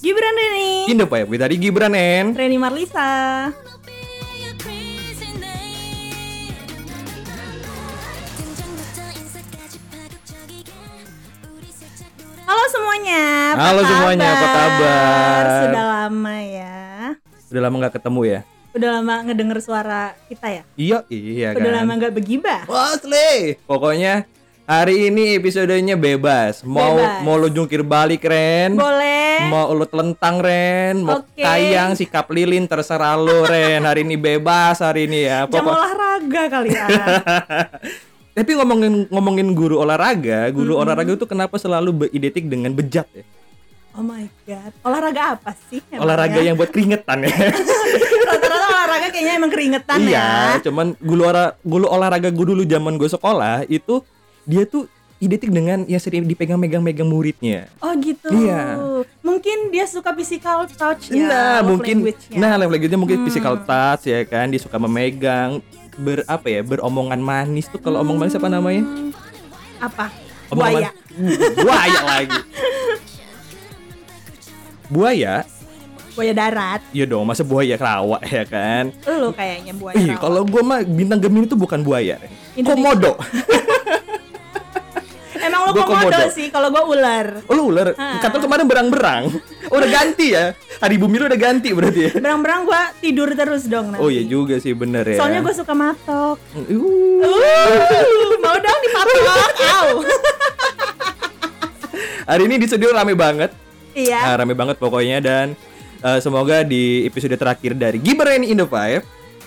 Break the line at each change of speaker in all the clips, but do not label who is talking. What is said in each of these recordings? Gibran Reni
Indo Pak ya, tadi Gibran en.
Reni Marlisa Halo semuanya apa
Halo semuanya, apa kabar?
Sudah lama ya
Udah lama nggak ketemu ya?
Udah lama ngedenger suara kita ya
Iya, iya
Udah
kan.
lama nggak begibah
Asli. Pokoknya hari ini episodenya bebas. Mau
Bebas.
mau lo jungkir balik Ren.
Boleh
Mau lo telentang Ren, mau
Oke.
tayang sikap lilin terserah lo Ren. Hari ini bebas hari ini ya.
Jam
Pokok-
olahraga kali ya
Tapi ngomongin ngomongin guru olahraga, guru olahraga itu kenapa selalu identik dengan bejat ya?
Oh my god Olahraga apa sih emangnya?
Olahraga yang buat keringetan ya.
Rata-rata olahraga kayaknya emang keringetan
iya,
ya
cuman gulu, olah, gulu olahraga gue dulu zaman gue sekolah itu dia tuh identik dengan ya sering dipegang-megang-megang muridnya.
Oh gitu.
Iya.
Mungkin dia suka physical touch ya.
nah,
love
mungkin
language-nya. Hmm.
nah level gitu mungkin physical touch ya kan, dia suka memegang ber apa ya, beromongan manis tuh kalau omong manis apa namanya?
apa? Hmm,
Omongan
Buaya.
man- buaya lagi. Buaya?
Buaya darat.
Iya dong, masa buaya kerawak ya kan?
Lu kayaknya buaya.
Ih,
rawa.
kalau gue mah bintang Gemini tuh bukan buaya. Ren.
Indonesia.
Komodo.
Emang lu
gua
komodo,
komodo.
sih, kalau gua ular.
Oh, lu ular. Kata lu kemarin berang-berang. Udah ganti ya. Hari bumi lu udah ganti berarti ya.
Berang-berang gua tidur terus dong nanti.
Oh iya juga sih bener ya.
Soalnya gua suka matok.
Uh,
Uh, mau dong dipatok. Au.
hari ini di studio rame banget.
Iya.
Ah, rame banget pokoknya dan eh, semoga di episode terakhir dari Gibran in the Five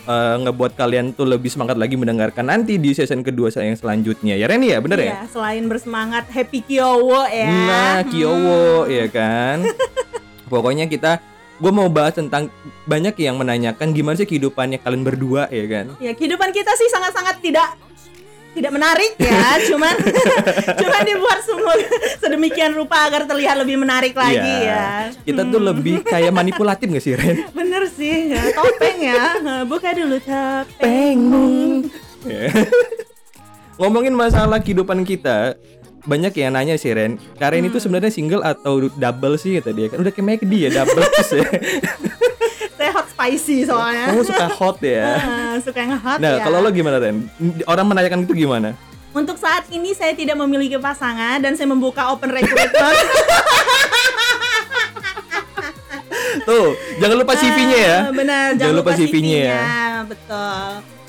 eh, ngebuat kalian tuh lebih semangat lagi mendengarkan nanti di season kedua saya yang selanjutnya. Ya Ren ya, bener ya?
Iya, selain bersemangat happy kiowo ya.
Nah, Kiowo ya kan. Pokoknya kita gue mau bahas tentang banyak yang menanyakan gimana sih kehidupannya kalian berdua ya kan.
Ya kehidupan kita sih sangat-sangat tidak tidak menarik ya, cuman cuman dibuat semua sedemikian rupa agar terlihat lebih menarik
Iya.
lagi ya.
Kita tuh lebih kayak manipulatif gak sih Ren?
Bener sih, ya. topeng ya. Buka dulu topeng.
Pengung. Iya. Ngomongin masalah kehidupan kita, banyak yang nanya sih Ren. Karen itu
Hmm.
sebenarnya single atau double sih kata dia kan. Udah kayak McD ya double terus ya.
Saya hot spicy soalnya.
Kamu suka hot ya.
Ah, suka yang hot
Nah,
ya.
kalau lo gimana Ren? Orang menanyakan itu gimana?
Untuk saat ini saya tidak memiliki pasangan dan saya membuka open recruitment.
Tuh, jangan lupa CV-nya ya.
Ah, Benar,
Jangan lupa CV-nya ya.
Betul.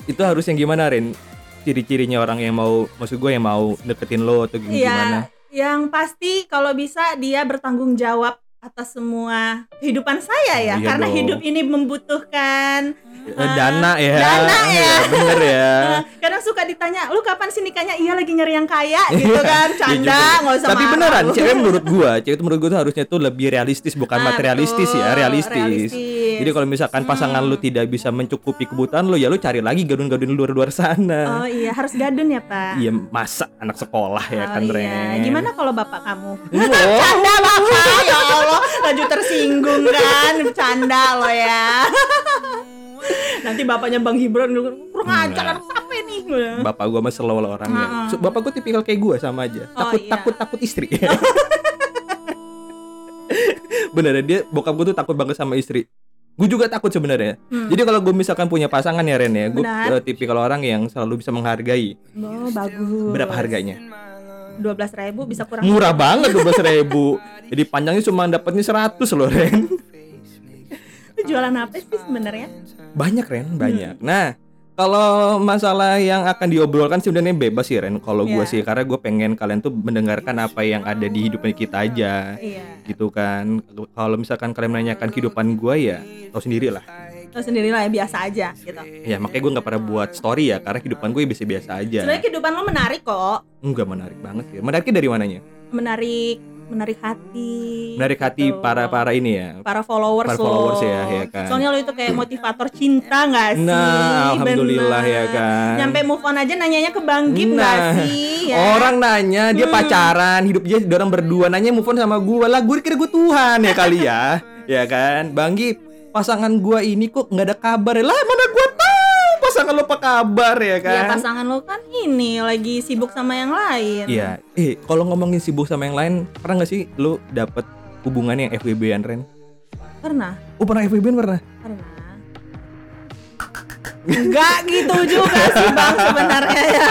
Itu harus yang gimana Ren? Ciri-cirinya orang yang mau maksud gue yang mau deketin lo atau gim- Hmm, gimana?
Iya, yang pasti kalau bisa dia bertanggung jawab atas semua kehidupan saya ya,
Iya
karena
dong.
hidup ini membutuhkan.
Eh, Dana ya.
dana ya.
Bener ya.
eh, kadang suka ditanya, lu kapan sih nikahnya? Iya lagi nyari yang kaya gitu kan,
Iya juga.
canda, nggak usah
Tapi
malu.
beneran, cewek menurut gua, cewek itu menurut gua tuh harusnya tuh lebih realistis bukan
Ah,
materialistis ya,
betul,
realistis.
realistis. Hmm.
Jadi kalau misalkan pasangan lu tidak bisa mencukupi kebutuhan lu, ya lu cari lagi gadun-gadun luar-luar sana.
Oh iya, harus gadun ya pak.
Iya, masa anak sekolah ya kan,
oh,
Ren. Iya.
iya. Gimana kalau bapak kamu?
Wow.
Canda bapak, ya Allah, lanjut tersinggung kan, canda lo ya. Nanti bapaknya Bang Hibron kurang ajar anak sampai nih.
Bapak gua mah slow lah orangnya. So, ya. bapak gua tipikal kayak gua sama aja.
Oh,
Takut
iya.
takut takut istri. Bener dia bokap gua tuh takut banget sama istri. Gue juga takut sebenarnya. Jadi kalau gue misalkan punya pasangan ya Ren ya, gue
Hmm. Benar.
tipikal orang yang selalu bisa menghargai.
Oh, bagus.
Berapa harganya?
12.000 bisa kurang.
Murah banget 12 ribu Jadi panjangnya cuma dapatnya 100 loh Ren
Lu jualan apa sih sebenarnya?
Banyak Ren, banyak Nah kalau masalah yang akan diobrolkan sebenarnya bebas sih Ren Kalau gua
Iya.
sih Karena gue pengen kalian tuh mendengarkan apa yang ada di hidupnya kita aja
Iya.
Gitu kan Kalau misalkan kalian menanyakan kehidupan gua ya Tau sendiri lah
Lo sendiri lah ya biasa aja gitu.
Ya makanya gue gak pernah buat story ya Karena kehidupan gue biasa-biasa
Sebenarnya
aja
kehidupan lo menarik kok.
Enggak menarik banget sih Menariknya dari mananya?
Menarik, menarik hati.
Menarik hati
Gitu.
para-para ini ya
para followers
Para
lo.
followers ya, ya kan.
Soalnya lo itu kayak motivator cinta gak sih?
Nah, alhamdulillah
Bener.
ya kan.
Nyampe move on aja nanyanya ke Bang Gip nggak
Nah,
sih? Ya. Hmm.
Orang nanya dia pacaran, hidup dia orang berdua nanya move on sama gua lah. Gue kira gue Tuhan ya kali ya. ya kan? Banggi, pasangan gua ini kok nggak ada kabar. Lah, mana gua tahu? Pas pasangan lo apa kabar ya kan?
Ya pasangan lo kan ini lagi sibuk sama yang lain.
Iya. Eh, kalau ngomongin sibuk sama yang lain, pernah nggak sih lo dapet hubungan yang FWB-an Ren?
Pernah,
Oh pernah FWB-an pernah?
pernah. Enggak gitu juga sih bang sebenarnya ya.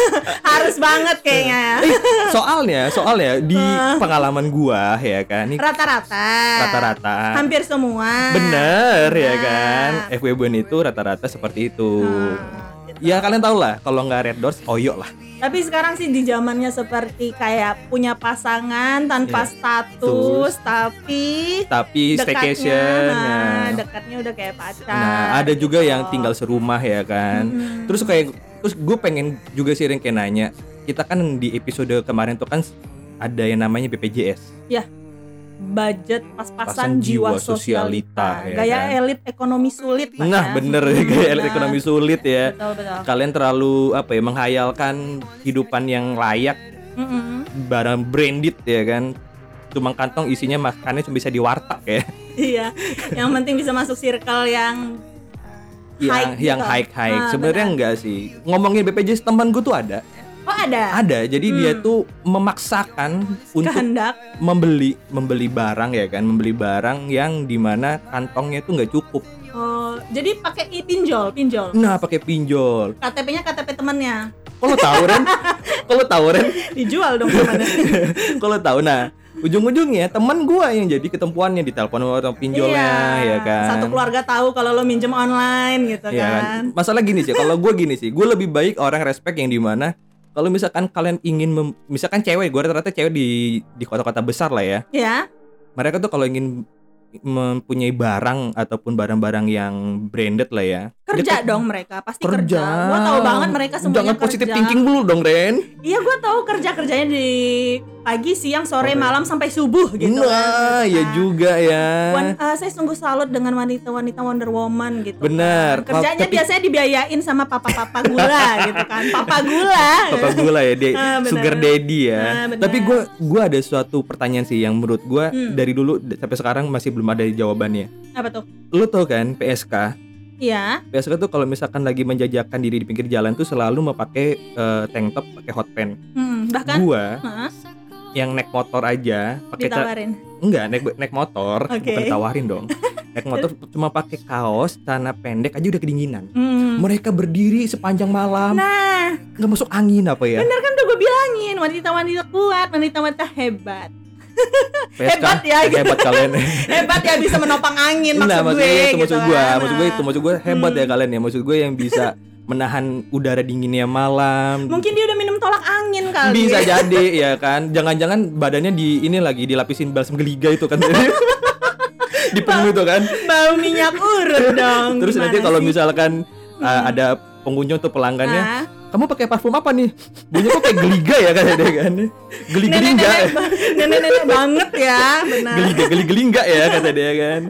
Harus banget kayaknya ya.
Eh, Soalnya, soalnya di pengalaman gua ya kan, ini
Rata-rata.
rata-rata
Hampir semua.
Bener ya
Nah.
kan FWB itu rata-rata seperti itu
Nah.
Ya kalian tau lah Kalau nggak Red Doors Oyo lah
Tapi sekarang sih di zamannya seperti kayak punya pasangan tanpa
Iya.
status, tapi
Tapi staycation
nah,
ya.
dekatnya udah kayak pacar.
Nah ada juga
gitu.
yang tinggal serumah ya kan
Hmm.
Terus kayak Terus gue pengen juga sih Ren kayak nanya Kita kan di episode kemarin tuh kan Ada yang namanya BPJS
ya budget pas-pasan
Pasan
jiwa
jiwa
sosialita,
sosialita, ya
gaya
kan?
elit ekonomi sulit. Pak,
Nah
ya.
bener
Hmm,
kayak
bener.
ekonomi sulit ya
Betul betul.
Kalian terlalu apa ya Menghayalkan kehidupan yang layak
Mm-mm.
barang branded ya kan cuma kantong isinya makannya cuma bisa di warteg ya
Iya, yang penting bisa masuk circle yang
yang
High gitu.
yang high high
Ah,
sebenarnya
benar.
enggak sih ngomongin BPJS teman gue tuh ada
oh ada
ada jadi
Hmm. Kan.
dia tuh memaksakan untuk
kehendak.
membeli membeli barang ya kan membeli barang yang dimana kantongnya tuh nggak cukup
Oh, jadi pakai i pinjol, pinjol.
nah pakai pinjol
KTP-nya KTP temannya
kalau tahu Ren kalau tahu Ren
dijual dong temannya.
kalau tahu nah ujung-ujungnya teman gua yang jadi ketempuannya ditelepon sama orang pinjolnya ya kan
Iya. Satu keluarga tahu kalau lo minjem online gitu
Iya kan?
kan.
Masalah gini sih, kalau gue gini sih, gue lebih baik orang respect yang dimana kalau misalkan kalian ingin, mem- misalkan cewek, gue rata-rata cewek di di kota-kota besar lah ya,
Ya,
mereka tuh kalau ingin mempunyai barang ataupun barang-barang yang branded lah ya,
kerja
dia tuh
dong mereka, pasti kerja.
kerja.
Gua tahu banget mereka semuanya
Jangan
kerja.
positif thinking dulu dong, Ren.
Iya, gua tahu kerja-kerjanya di pagi, siang, sore, malam sampai subuh gitu
nah,
kan.
ya juga ya.
Wan- eh, saya sungguh salut dengan wanita-wanita Wonder Woman gitu.
Bener.
Kerjanya
Tapi-
biasanya dibiayain sama papa-papa gula gitu kan. Papa gula.
Papa gula ya, dia
Ah, benar.
sugar daddy ya.
Ah, benar.
Tapi gue gua ada suatu pertanyaan sih yang menurut gue
Hmm.
dari dulu d- sampai sekarang masih belum ada jawabannya.
Apa tuh?
Lu tau kan PSK?
Iya.
PSK tuh kalau misalkan lagi menjajakan diri di pinggir jalan tuh selalu mau pakai eh, tank top, pakai hot pants.
Hmm, bahkan
Gua
Hah?
yang naik motor aja, pakai ca-
ditawarin.
enggak naik naik motor,
Oke.
bukan tawarin dong. naik motor cuma pakai kaos, celana pendek aja udah kedinginan.
Hmm.
Mereka berdiri sepanjang malam,
Nah,
nggak masuk angin apa ya?
Bener kan udah gue bilangin wanita-wanita kuat, wanita-wanita hebat. hebat ya, gitu.
hebat kalian.
Hebat ya bisa menopang angin maksud,
Nah, maksud
gue.
gue, itu
gitu
maksud gue,
kan.
maksud gue itu maksud gue hebat
Hmm.
ya kalian ya. Maksud gue yang bisa menahan udara dinginnya malam.
Mungkin dia udah minum tolak angin kali.
bisa jadi ya kan. Jangan-jangan badannya di ini lagi dilapisin balsam geliga itu kan. di punggung itu kan.
bau minyak urut dong.
Terus
gimana
nanti kalau
sih? Hmm.
misalkan uh, ada pengunjung atau pelanggannya,
Ah.
kamu pakai parfum apa nih? Bunyinya kok kayak geliga ya kan dia kan.
Nah,
Geli-gelinga.
Nenek-nenek ba- nenek-nenek banget ya, benar.
geli geli geli enggak ya kata dia kan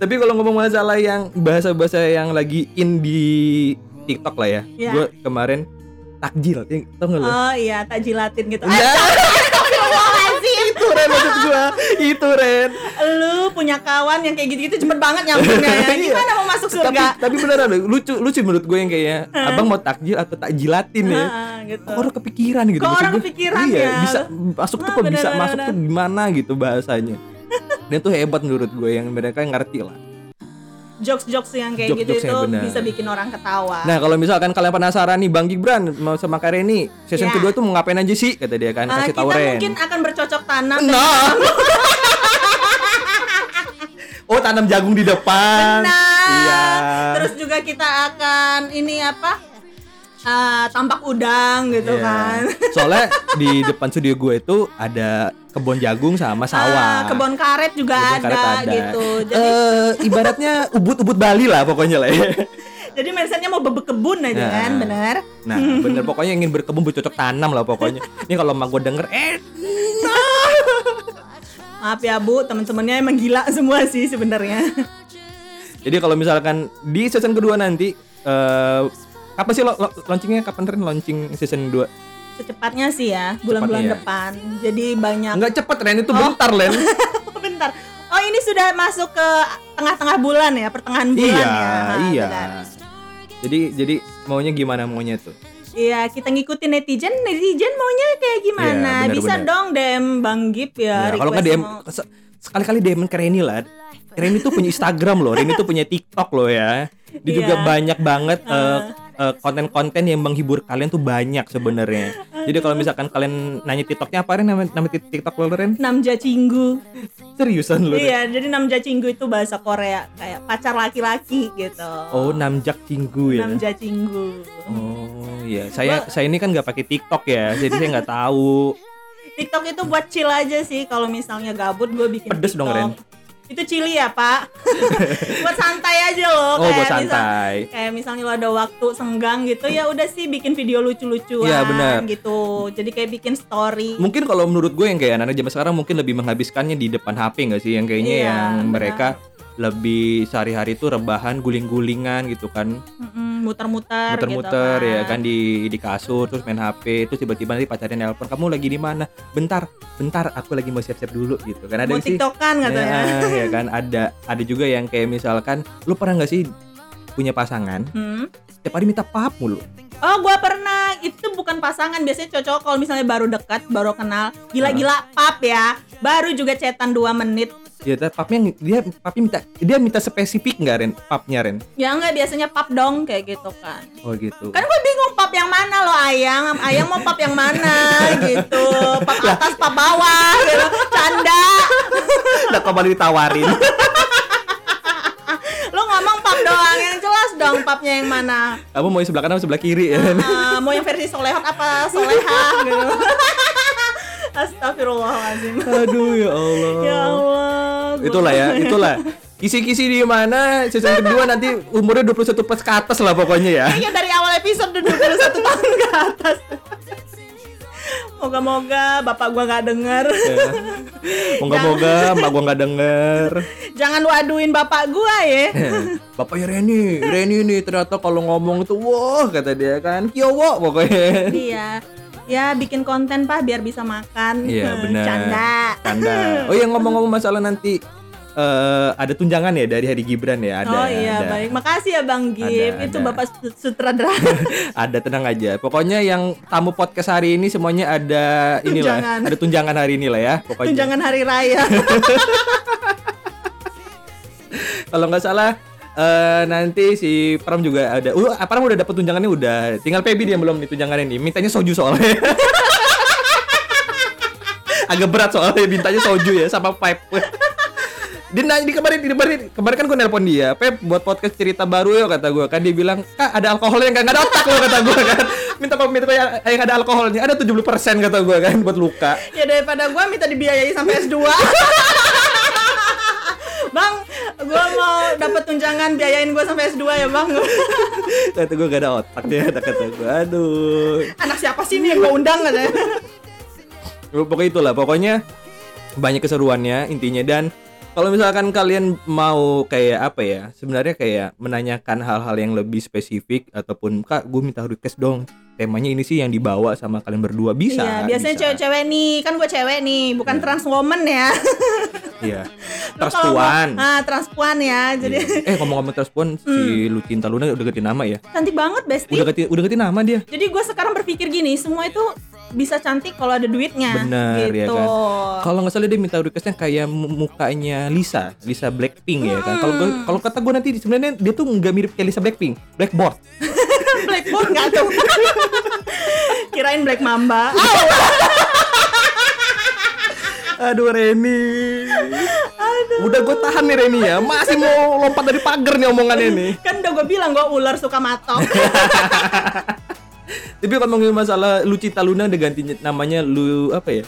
tapi kalau ngomong masalah yang bahasa bahasa yang lagi in di TikTok lah ya
Iya.
gue kemarin takjil ya, tau nggak lo
Oh iya, tak jilatin gitu. Eh,
Enggak. itu Ren maksud gue itu Ren
Ah, lu punya kawan yang kayak gitu-gitu cepet banget nyambungnya ya.
Iya.
Gimana mau masuk
tapi
surga?
tapi beneran loh, lucu lucu menurut gue yang kayaknya abang mau takjil atau takjilatin ya
Ah, gitu.
kok orang kepikiran gitu
Kok
maksud
orang
gue,
kepikiran
iya,
ya?
bisa masuk tuh
Ah,
kok bisa
benar,
masuk
benar,
tuh gimana gitu bahasanya dan tuh hebat menurut gue yang mereka yang ngerti lah
Jokes-jokes yang kayak gitu
Jokes-jokes
itu
yang benar.
bisa bikin orang ketawa.
Nah kalau misalkan kalian penasaran nih Bang Gibran mau sama Kak Reni Season
Ya.
kedua tuh mau ngapain aja sih kata dia kan
Ah,
Kasih
kita
tau Ren
mungkin akan bercocok tanam dan
Nah Oh tanam jagung di depan
Nah,
Iya
terus juga kita akan ini apa? eh, tampak udang gitu
Iya.
kan.
Soalnya di depan studio gue itu ada kebun jagung
Ah,
sama sawah
kebun karet juga
Kebun
ada,
karet
gitu. Jadi
Eh, Ibaratnya ubut-ubut Bali lah pokoknya lah ya
jadi mindsetnya mau bebek kebun aja
Nah.
kan, bener?
Nah bener pokoknya ingin berkebun bercocok tanam lah pokoknya Ini kalau emak gue denger eh
Maaf ya Bu, teman-temannya emang gila semua sih sebenarnya.
Jadi kalau misalkan di season kedua nanti eh kapan sih lo, lo- launchingnya kapan Ren launching season 2?
Secepatnya sih ya, bulan-bulan
Cepatnya ya.
depan. Jadi banyak
Enggak cepet Ren itu bentar Len.
Oh. bentar. Oh, ini sudah masuk ke tengah-tengah bulan ya, pertengahan bulan
iya,
ya. Ah,
iya.
benar.
Jadi jadi maunya gimana maunya tuh?
Iya, kita ngikutin netizen, netizen maunya kayak gimana?
Iya, benar,
Bisa
benar.
dong DM Bang Gip ya.
Ya, kalau nggak
request
DM
mau.
se- sekali-kali DM ke Reni lah. Reni tuh punya Instagram loh, Reni tuh punya TikTok loh ya. Dia juga
Iya.
banyak banget eh, eh, konten-konten yang menghibur kalian tuh banyak sebenarnya. Jadi kalau misalkan kalian nanya TikToknya apa Ren nama, nama TikTok lo Ren?
Namja Cinggu.
Seriusan lo? Ren?
Iya, jadi Namja Cinggu itu bahasa Korea kayak pacar laki-laki gitu.
Oh, Namjak Cinggu ya.
Namja Cinggu.
Oh iya, saya saya ini kan nggak pakai TikTok ya, jadi saya nggak tahu.
TikTok itu buat chill aja sih kalau misalnya gabut gue bikin
Pedes dong,
TikTok. Itu chili ya, Pak? buat santai aja loh
Oh, buat
kayak misal-
santai.
kayak misalnya lo ada waktu senggang gitu ya udah sih bikin video lucu-lucuan
Iya, benar.
gitu. Jadi kayak bikin story.
Mungkin kalau menurut gue yang kayak anak-anak zaman sekarang mungkin lebih menghabiskannya di depan HP nggak sih, yang kayaknya
Iya,
yang
benar.
mereka lebih sehari-hari tuh rebahan guling-gulingan gitu kan
Mm-mm, muter-muter gitu
muter-muter ya kan di di kasur terus main HP terus tiba-tiba nanti pacarnya nelpon kamu lagi di mana bentar bentar aku lagi mau siap-siap dulu gitu kan ada
Mau
yang sih
tiktokan katanya
ya, ya kan ada ada juga yang kayak misalkan lu pernah nggak sih punya pasangan
Hmm.
setiap hari minta pap mulu
Oh gua pernah Itu bukan pasangan Biasanya cocok kalau misalnya baru dekat Baru kenal
Ah.
Gila-gila pap ya Baru juga cetan 2 menit
Ya, tapi papnya dia papnya minta dia minta spesifik nggak Ren papnya Ren?
Ya enggak biasanya pap dong Kayak gitu kan
Oh gitu.
Kan gue bingung pap yang mana lo ayang Ayang mau pap yang mana gitu Pap atas pap bawah gitu. Canda
Udah kembali ditawarin.
Lo ngomong pap doang Yang jelas dong papnya yang mana
Kamu mau yang sebelah kanan atau sebelah kiri ya?
Eh, Mau yang versi solehot apa solehah gitu Astagfirullahaladzim
Aduh ya Allah.
Ya Allah. gua-
Itulah ya, itulah. Kisi-kisi di mana season kedua nanti umurnya 21 plus ke atas lah pokoknya ya.
Kayaknya dari awal episode udah 21 tahun ke atas. Moga-moga bapak gua nggak denger.
Iya. Moga-moga mbak gua nggak denger.
Jangan lu aduin bapak gua ya.
Bapaknya Reni, Reni nih ternyata kalau ngomong tuh wah kata dia kan kiowo pokoknya.
iya. Ya bikin konten pak biar bisa makan.
Iya benar.
Canda.
Canda. Oh ya ngomong-ngomong masalah nanti eh, ada tunjangan ya dari Hari Gibran ya
oh
ada.
iya
ada.
baik. Makasih ya Bang Gip.
Ada, Oh,
Itu
ada.
bapak sut- sutradara.
ada tenang aja. Pokoknya yang tamu podcast hari ini semuanya ada inilah,
Tunjangan.
ada tunjangan hari inilah ya. Pokoknya
Tunjangan hari raya.
kalau nggak salah eh, nanti si Pram juga ada. Uh, Pram udah dapet tunjangannya udah. Tinggal Pebi dia yang belum nih tunjangan ini. Mintanya soju soalnya. Agak berat soalnya mintanya soju ya sama pipe. Dia nanya di kemarin, di kemarin, kemarin kan gue nelpon dia, Pep buat podcast cerita baru ya kata gue kan dia bilang kak ada alkoholnya nggak nggak ada otak lo kata gue kan minta kok minta yang yang ada alkoholnya ada 70% kata gue kan buat luka
ya daripada gua minta dibiayai sampai S2. Bang, gua mau dapat tunjangan biayain gua sampai S2 ya, Bang.
kata gue gak ada otak dia kata kata gue aduh
anak siapa sih nih yang gue undang katanya
Ya, pokoknya itulah pokoknya banyak keseruannya intinya dan kalau misalkan kalian mau kayak apa ya sebenarnya kayak menanyakan hal-hal yang lebih spesifik ataupun kak gue minta request dong temanya ini sih yang dibawa sama kalian berdua bisa
iya biasanya
bisa.
cewek-cewek nih kan gue cewek nih bukan trans woman ya
iya
Lu
Terus
kalau mau-
puan.
ah transpuan ya jadi Hmm.
eh ngomong-ngomong transpuan si Lucinta Luna udah ganti nama ya
cantik banget besti
udah ganti udah ganti nama dia
jadi gue sekarang berpikir gini semua itu bisa cantik kalau ada duitnya
Bener, ya
gitu
kan? kalau nggak salah dia minta requestnya kayak mu- mukanya Lisa Lisa Blackpink ya kan kalau gua- kalau kata gue nanti sebenarnya dia tuh nggak mirip kayak Lisa Blackpink Blackboard
blackboard nggak tuh kirain black mamba Ah,
Aduh Reni. Udah gue tahan nih Reni ya. Masih mau lompat dari pagar nih omongannya nih.
kan udah gue bilang gue ular suka matok
Tapi kalau ngomongin masalah Lucita Luna udah ganti namanya Lu apa ya?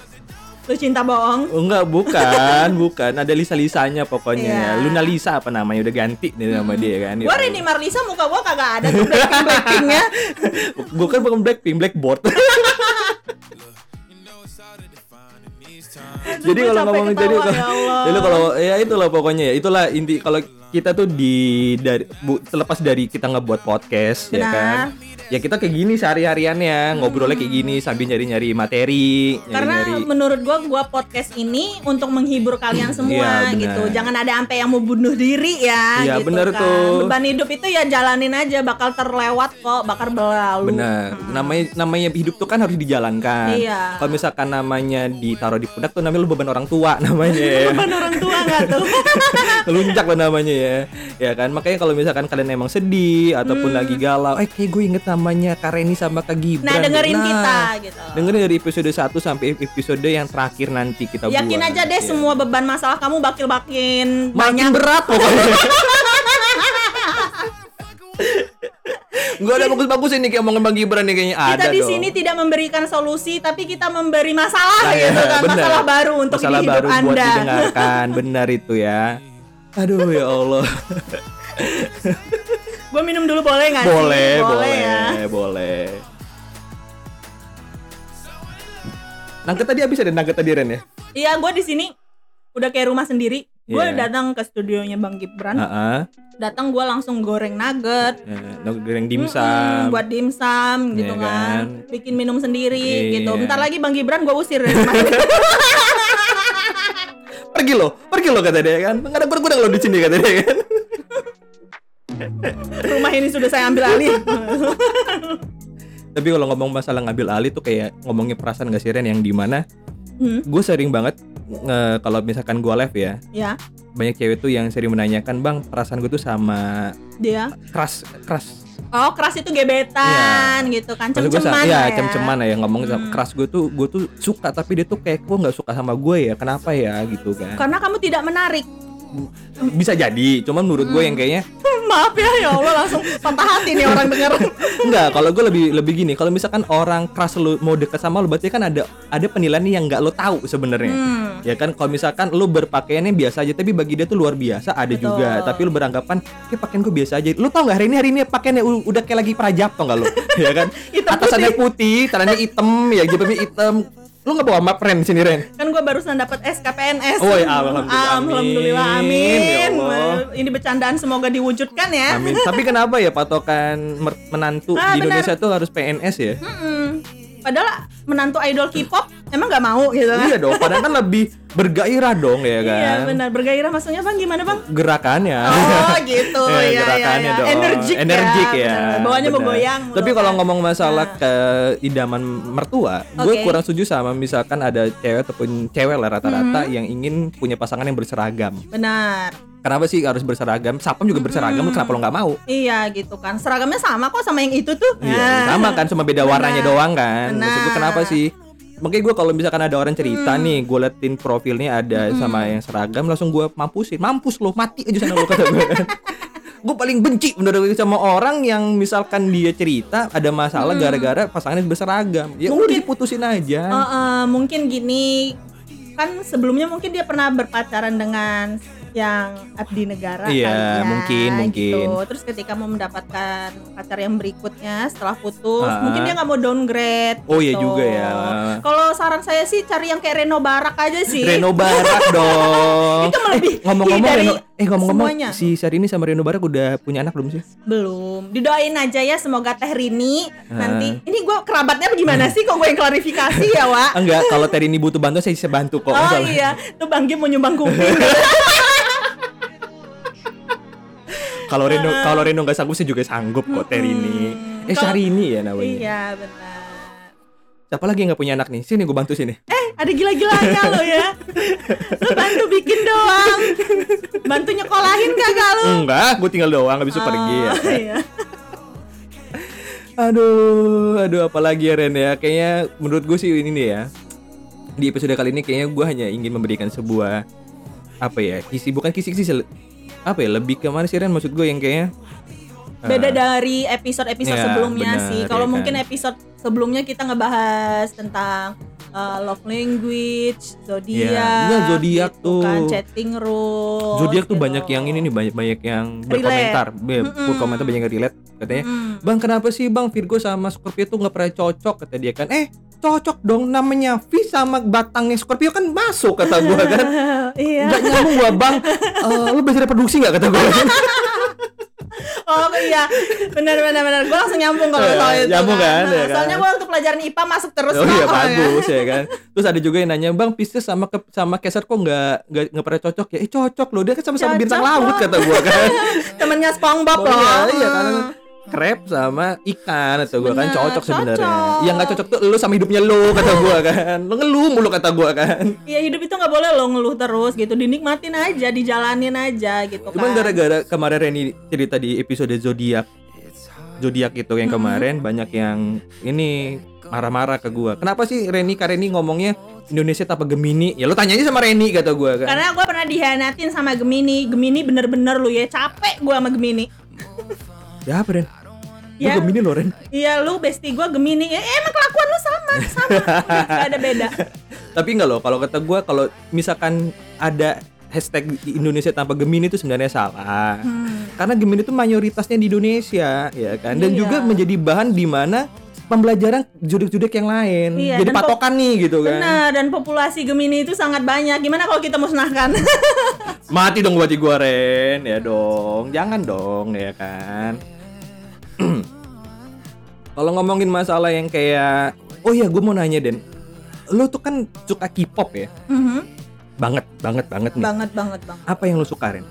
lu cinta bohong
Oh, enggak, bukan, bukan. Ada Lisa-Lisanya
Iya.
pokoknya ya. Luna Lisa apa namanya udah ganti nih nama dia kan.
gue Rini Marlisa muka gue kagak ada tuh blackpink blackpinknya
Gue kan bukan Blackpink, Blackboard. jadi
Gua
kalau
capek
ngomongin jadi
ketawa,
kalau
ya Allah.
jadi kalau ya itulah pokoknya ya itulah inti kalau kita tuh di dari bu, terlepas dari kita ngebuat podcast ya
Benar.
kan ya kita kayak gini sehari-hariannya ngobrolnya kayak gini sambil nyari-nyari materi
Karena
nyari-nyari
menurut gua gua podcast ini untuk menghibur kalian
Iya,
semua
benar.
gitu. Jangan ada sampai yang mau bunuh diri ya
Iya,
gitu
benar
kan.
tuh.
Beban hidup itu ya jalanin aja bakal terlewat kok, bakal berlalu.
benar namanya namanya hidup tuh kan harus dijalankan
Iya.
kalau misalkan namanya ditaruh di pundak tuh namanya lu beban orang tua namanya ya.
Beban orang tua nggak tuh?
Telunjak lah namanya ya ya kan makanya kalau misalkan kalian emang sedih ataupun lagi galau eh kayak gue inget namanya Kareni sama Kak Gibran
Hmm. Nah, dengerin
Nah,
kita gitu.
dengerin dari episode 1 sampai episode yang terakhir nanti kita
Yakin
buat.
aja deh
Ya.
semua beban masalah kamu bakal makin
makin berat pokoknya Gak ada bagus-bagus ini kayak omongan Bang Gibran nih kayaknya ada
kita di
dong.
sini tidak memberikan solusi tapi kita memberi masalah
Nah,
gitu
ya,
kan
benar.
masalah baru untuk
Masalah
di hidup
baru buat
anda
didengarkan benar itu ya aduh ya Allah
gue minum dulu boleh nggak sih?
boleh boleh
ya
boleh Nangka tadi habis ada nangka tadi Ren ya
iya gue di sini udah kayak rumah sendiri gue
Iya. Ah.
datang ke studionya bang Gibran
Heeh.
datang gue langsung goreng nugget
Nah, goreng
Mm-mm,
dimsum
buat dimsum gitu
Iya
kan.
kan?
bikin minum sendiri
Iya.
gitu bentar lagi bang Gibran gue usir dari rumah
pergi lo pergi lo kata dia kan nggak ada bergudang lo di sini kata dia kan
rumah ini sudah saya ambil alih
tapi kalau ngomong masalah ngambil alih tuh kayak ngomongin perasaan gak sih Ren yang dimana
Hmm,
gue sering banget nge- kalau misalkan gue live ya
ya
banyak cewek tuh yang sering menanyakan bang perasaan gue tuh sama
dia
keras keras
Oh keras itu gebetan gitu kan
Iya. Maksud gua sa-
Cem-ceman
ya
lah
cem-ceman ya ngomong
Hmm.
keras gue tuh gue tuh suka tapi dia tuh kayak gue nggak suka sama gue ya kenapa ya gitu kan
Karena kamu tidak menarik
bisa jadi cuman menurut gue
Hmm.
yang kayaknya
Maaf ya ya Allah langsung patah hati nih orang denger
Enggak, kalau gue lebih lebih gini, kalau misalkan orang keras lu mau deket sama lu berarti kan ada ada penilaian yang nggak lo tahu sebenarnya.
hmm.
Ya kan kalau misalkan lu berpakaiannya biasa aja tapi bagi dia tuh luar biasa ada
Betul.
juga, tapi lu beranggapan kayak pakaian gue biasa aja. Lu tau nggak hari ini hari ini pakaiannya u- udah kayak lagi prajab tau nggak lu? ya kan?
Hitam
Atasannya putih, tangannya hitam, ya jilbabnya hitam. Lu nggak bawa map Ren sini Ren?
Kan gue barusan dapat SKPNS
Oh, ya, alhamdulillah,
Alhamdulillah
amin.
amin
Ya Allah.
Ini bercandaan semoga diwujudkan ya
Amin. tapi kenapa ya patokan mer- menantu
Ah,
di
benar.
Indonesia tuh harus PNS ya?
Mm-mm. Padahal menantu idol K-pop emang gak mau gitu kan
iya dong, padahal kan lebih bergairah dong ya kan.
Iya benar bergairah maksudnya bang gimana bang?
gerakannya.
Oh gitu
Eh,
ya, ya,
gerakannya
ya.
dong.
Energik,
Energik
ya,
ya.
benar. Bawahnya
benar.
menggoyang
Tapi
betul
kalau
kan?
ngomong masalah ke idaman mertua, gue
Oke.
kurang setuju sama misalkan ada cewek ataupun cewek lah
Mhm.
rata-rata yang ingin punya pasangan yang berseragam.
Benar
Kenapa sih harus berseragam? Sapam
Mhm.
juga berseragam, kenapa lo nggak mau?
Iya gitu kan seragamnya sama kok sama yang itu tuh Nah.
Iya, sama kan cuma beda warnanya
Ah. Benar.
doang kan. Maksud gue
Benar. Hmm.
kenapa sih? Makanya gue kalau misalkan ada orang cerita nih, gue liatin profilnya ada sama yang seragam, langsung gue mampusin, mampus lo, mati aja sana lo kata gue. gue paling benci menurut gue sama orang yang misalkan dia cerita ada
Hmm.
masalah gara-gara pasangannya berseragam. Ya udah diputusin
Oh,
aja.
eh, mungkin gini kan sebelumnya mungkin dia pernah berpacaran dengan yang abdi negara kali
Iya,
ya,
mungkin, mungkin.
gitu. terus ketika mau mendapatkan pacar yang berikutnya setelah putus
Ah.
mungkin dia nggak mau downgrade
Oh, iya
gitu.
juga ya.
kalau saran saya sih cari yang kayak Reno Barak aja sih
Reno Barak dong.
iya. Itu melebihi
Eh, ngomong-ngomong
dari
Reno, eh ngomong-ngomong
semuanya.
si Syahrini sama Reno Barak udah punya anak belum sih?
belum didoain aja ya semoga Teh Rini
Ah.
nanti ini gue kerabatnya apa gimana sih kok gue yang klarifikasi ya Wak
Enggak, kalau Teri ini butuh bantuan saya bisa bantu kok.
oh
masalah.
iya tuh Bang Gim mau nyumbang kuping
Kalau Reno kalau Reno nggak sanggup sih juga sanggup kok Terini.
Mm-mm. Ah.
Eh
Kalau-
Syahrini ya namanya.
iya benar
Siapa lagi yang nggak punya anak nih? Sini gue bantu sini.
Eh, ada gila-gilanya lo ya. Lo bantu bikin doang. Bantu nyekolahin kagak lo?
Enggak, gue tinggal doang habis itu pergi ya.
Oh, iya.
Aduh, aduh apalagi ya Ren ya. Kayaknya menurut gue sih ini nih ya. Di episode kali ini kayaknya gue hanya ingin memberikan sebuah apa ya? Kisi bukan kisi-kisi sel- apa ya? Lebih ke mana sih Ren maksud gue yang kayaknya eh,
Beda dari episode-episode
Iya,
sebelumnya
benar,
sih. Kalau
iya
mungkin
kan.
episode sebelumnya kita ngebahas tentang uh, love language, zodiak,
Iya, iya, zodiak
gitu kan,
tuh.
chatting room.
Zodiak tuh
gitu.
banyak yang ini nih banyak banyak yang berkomentar, Be-
Mm-mm.
berkomentar banyak yang relate katanya.
Mm.
Bang kenapa sih Bang Virgo sama Scorpio tuh nggak pernah cocok kata dia kan eh cocok dong namanya V sama batangnya Scorpio kan masuk kata gua kan
iya.
nggak nyambung gua bang Eh, lu belajar reproduksi nggak kata gua kan
Oh, Oh iya, benar benar benar. Gue langsung nyambung kalau
Iya,
soal itu.
nyambung kan,
Nah,
ya kan?
Soalnya gue waktu pelajaran IPA masuk terus.
Oh iya
kok, ya.
bagus ya kan. Terus ada juga yang nanya, "Bang, Pisces sama ke, sama Keser kok nggak nggak nggak pernah cocok ya?" Eh cocok loh, dia kan sama-sama
Cocok
bintang
loh.
laut kata gua kan.
Temennya SpongeBob
Oh
loh. Hmm.
iya, iya kan krep sama ikan atau gua
Bener,
kan cocok sebenarnya.
Iya, cocok.
Yang nggak cocok tuh lu sama hidupnya lu kata gua kan. Lu ngeluh mulu kata gua kan.
Iya hidup itu nggak boleh lo ngeluh terus gitu. Dinikmatin aja, dijalanin aja gitu kan.
Cuman gara-gara kemarin Reni cerita di episode zodiak zodiak itu
Mm-hmm.
yang kemarin banyak yang ini marah-marah ke gua. Kenapa sih Reni Kareni ngomongnya Indonesia tanpa Gemini? Ya lu tanya aja sama Reni kata gua kan.
Karena gue pernah dihianatin sama Gemini. Gemini bener-bener lu ya capek gue sama Gemini.
Ya apa Ren? Lu
Ya.
Gemini loh Ren.
Iya lu bestie gue Gemini. Ya, emang kelakuan lu sama, sama. Udah, nggak ada beda.
Iya. Tapi enggak loh kalau kata gua kalau misalkan ada hashtag di Indonesia tanpa Gemini itu sebenarnya salah. Karena Gemini itu mayoritasnya di Indonesia ya kan dan
Hmm. Iya.
juga menjadi bahan di mana pembelajaran judek-judek yang lain.
Iya,
Jadi
dan pop-
patokan nih gitu kan.
Benar dan populasi Gemini itu sangat banyak. Gimana kalau kita musnahkan?
Mati dong buat digoreng ya dong. Jangan dong ya kan. Kalau ngomongin masalah yang kayak oh iya gue mau nanya Den. Lu tuh kan suka K-pop ya?
Mhm.
Banget, banget, banget nih.
Banget banget banget.
Apa yang lu suka Ren?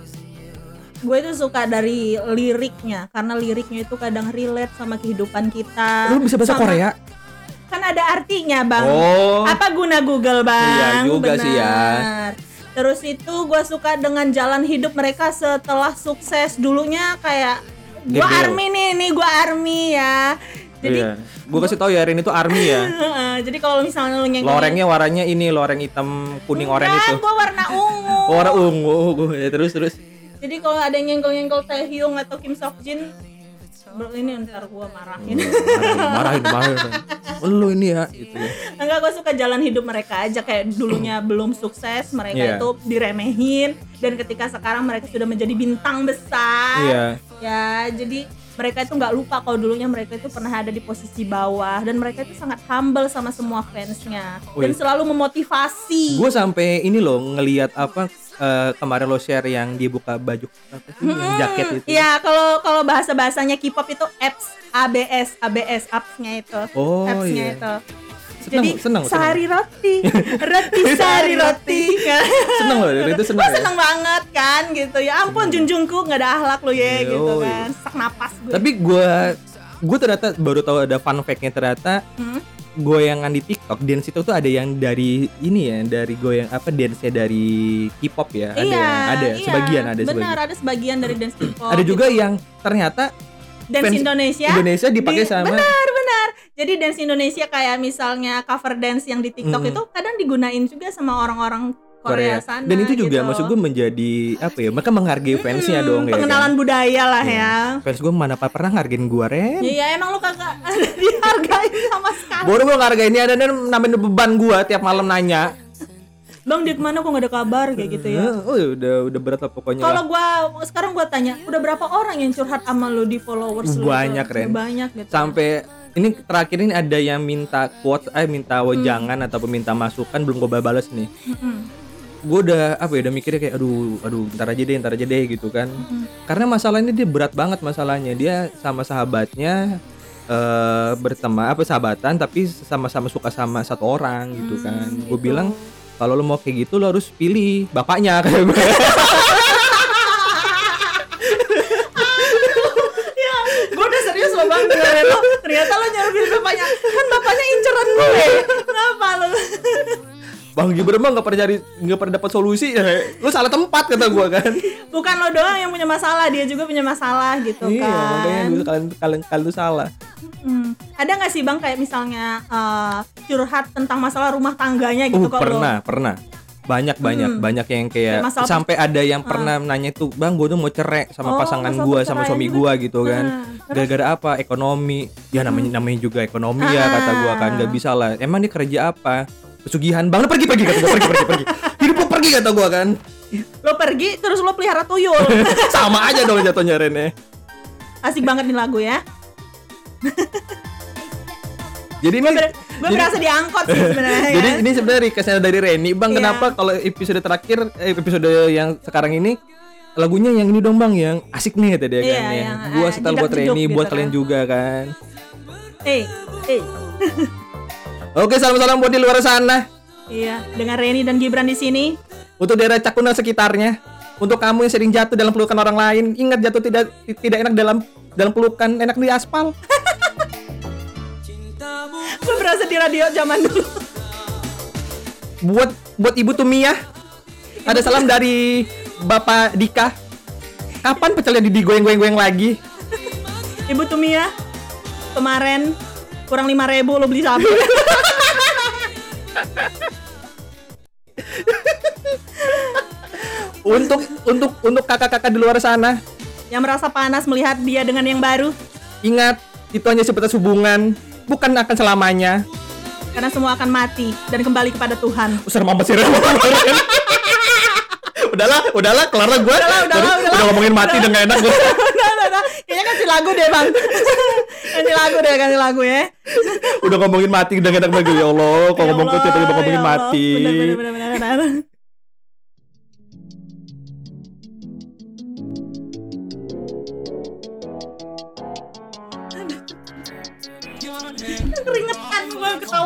gue tuh suka dari liriknya karena liriknya itu kadang relate sama kehidupan kita.
Lu bisa bahasa
Sama- Ah,
Korea?
Kan ada artinya bang.
Oh.
Apa guna Google bang?
Iya juga sih ya.
Benar. Terus itu gue suka dengan jalan hidup mereka setelah sukses dulunya kayak gue
Gembel.
army nih, nih gue army ya. Jadi
iya. Gue kasih tau ya Ren itu army ya.
jadi kalau misalnya lu nyengkelin
Lorengnya warnanya ini loreng hitam kuning oranye itu.
gue warna ungu.
Oh, Warna ungu. Ya terus terus.
Jadi kalau ada yang nyenggol-nyenggol Taehyung atau Kim Seokjin bro, ini ntar gue marahin.
Marahin, marahin. marahin. Lu ini ya gitu ya.
Enggak, gue suka jalan hidup mereka aja kayak dulunya belum sukses, mereka
Iya.
itu diremehin dan ketika sekarang mereka sudah menjadi bintang besar.
Iya.
Ya, jadi mereka itu nggak lupa kalau dulunya mereka itu pernah ada di posisi bawah dan mereka itu sangat humble sama semua fansnya dan
Wih.
selalu memotivasi.
gue sampai ini loh ngelihat apa eh, kemarin lo share yang dia buka baju apa sih, yang jaket itu
Iya, kalau kalau bahasa bahasanya K-pop itu apps, ABS, ABS apps-nya itu,
Oh,
apps-nya
iya.
itu. Jadi
seneng seneng
sari roti, roti sari roti. kan.
seneng, seneng loh Ren, itu seneng
Wah
ya.
seneng banget kan gitu ya ampun Junjungku nggak ada ahlak lu ya
Iya,
gitu
oh,
kan sesak napas gue
tapi gue gue ternyata baru tahu ada fun fact-nya ternyata
Hmm.
goyangan di TikTok dance itu tuh ada yang dari ini ya dari goyang apa dance-nya dari K-pop ya ada
iya
yang- ada
iya.
sebagian ada
benar Oh, gitu.
sebagian
ada sebagian dari dance K-pop
ada juga yang ternyata
dance
fans
Indonesia
Indonesia dipakai
Di-
sama
benar benar jadi dance Indonesia kayak misalnya cover dance yang di TikTok
Mm-mm.
itu kadang digunain juga sama orang-orang Korea,
Korea,
sana
dan itu juga
gitu.
maksud gue menjadi apa ya mereka menghargai fansnya
Hmm,
dong ya kan? Iya.
pengenalan budaya lah ya
fans gue mana pa- pernah ngargain gue Ren
Iya, ya, emang lu kagak dihargain sama sekali.
Baru gue ngargain dia dan nambahin beban gue tiap malam nanya
Bang, dia kemana kok gak ada kabar kayak gitu ya?
Eh, oh, udah udah berat lah pokoknya
Kalau gua sekarang gua tanya, udah berapa orang yang curhat sama lu di followers lu?
Banyak,
Udah
Ren.
Banyak gitu.
sampai ini terakhir ini ada yang minta quotes eh minta wejangan ataupun minta masukan belum gue balas nih gue udah apa ya udah mikirnya kayak aduh aduh ntar aja deh ntar aja deh gitu kan karena masalah ini dia berat banget masalahnya dia sama sahabatnya eh berteman apa sahabatan tapi sama-sama suka sama satu orang gitu kan gue bilang kalau lo mau kayak gitu lo harus pilih bapaknya kayak gue
Ya, gua udah serius loh bang dengerin lo. Ternyata lo nyuruh pilih bapaknya. Kan bapaknya inceran gue.
Iya.
Kenapa lo?
Bang Gibran mah nggak pernah cari nggak pernah dapat solusi ya. lu salah tempat kata gua kan
Bukan lo doang yang punya masalah, dia juga punya masalah gitu
iya
kan.
makanya dulu kalian kalian kalian tuh salah
Hmm. Ada nggak sih bang kayak misalnya eh, curhat tentang masalah rumah tangganya gitu
uh
kok lo?
pernah pernah banyak banyak banyak yang
Kayak
kayak
masalah- Ah.
sampai ada yang pernah nanya tuh bang gua tuh mau cerai sama
Oh,
pasangan
masalah
gua sama suami
perceraian
gua gitu kan
Nah, Hmm.
gara-gara apa ekonomi ya namanya namanya juga ekonomi
Ah.
ya kata gua kan nggak bisa lah emang dia kerja apa pesugihan bang lu pergi pergi kata gua pergi pergi pergi hidup lu pergi kata gua kan
Lo pergi terus lo pelihara tuyul.
sama aja dong jatuhnya Rene
Asik banget nih lagu ya.
jadi ini
Gue
jadi-
berasa diangkot sih sebenarnya.
Jadi
kan.
ini sebenarnya requestnya dari Reni Bang
Iya.
kenapa kalau episode terakhir eh, episode yang sekarang ini lagunya yang ini dong bang yang asik nih
Iya,
tadi kan ya.
yang,
Gua
eh,
setel buat
jedak-jeduk
Reni
gitu
buat
kan.
kalian juga kan.
Eh, eh.
Oke salam-salam buat di luar sana.
Iya, dengan Reni dan Gibran di sini.
Untuk daerah Cakuna sekitarnya. Untuk kamu yang sering jatuh dalam pelukan orang lain, ingat jatuh tidak tidak enak dalam dalam pelukan, enak di aspal.
Gue berasa di radio zaman dulu.
buat buat Ibu Tumia. Ada salam dari Bapak Dika. Kapan pecelnya digoyang-goyang lagi?
Ibu Tumia, kemarin kurang 5.000 ribu lo beli sapi.
Untuk untuk untuk kakak-kakak di luar sana,
yang merasa panas melihat dia dengan yang baru.
ingat itu hanya sebatas hubungan, bukan akan selamanya.
Karena semua akan mati dan kembali kepada Tuhan.
Usah mampet Oh, sih. udahlah, udahlah, kelar lah gue.
Udahlah, udahlah, udahlah.
Udah ngomongin mati udah gak enak gue.
Udah, udah, udah. Nah, Kayaknya ganti lagu deh bang. ganti lagu deh, ganti lagu ya.
Udah ngomongin mati udah gak enak banget. Ya Allah, kalau ngomong tuh tiba-tiba ngomongin mati.
ya Bener, bener, bener, bener, bener. Aduh. Keringetan gue ketawa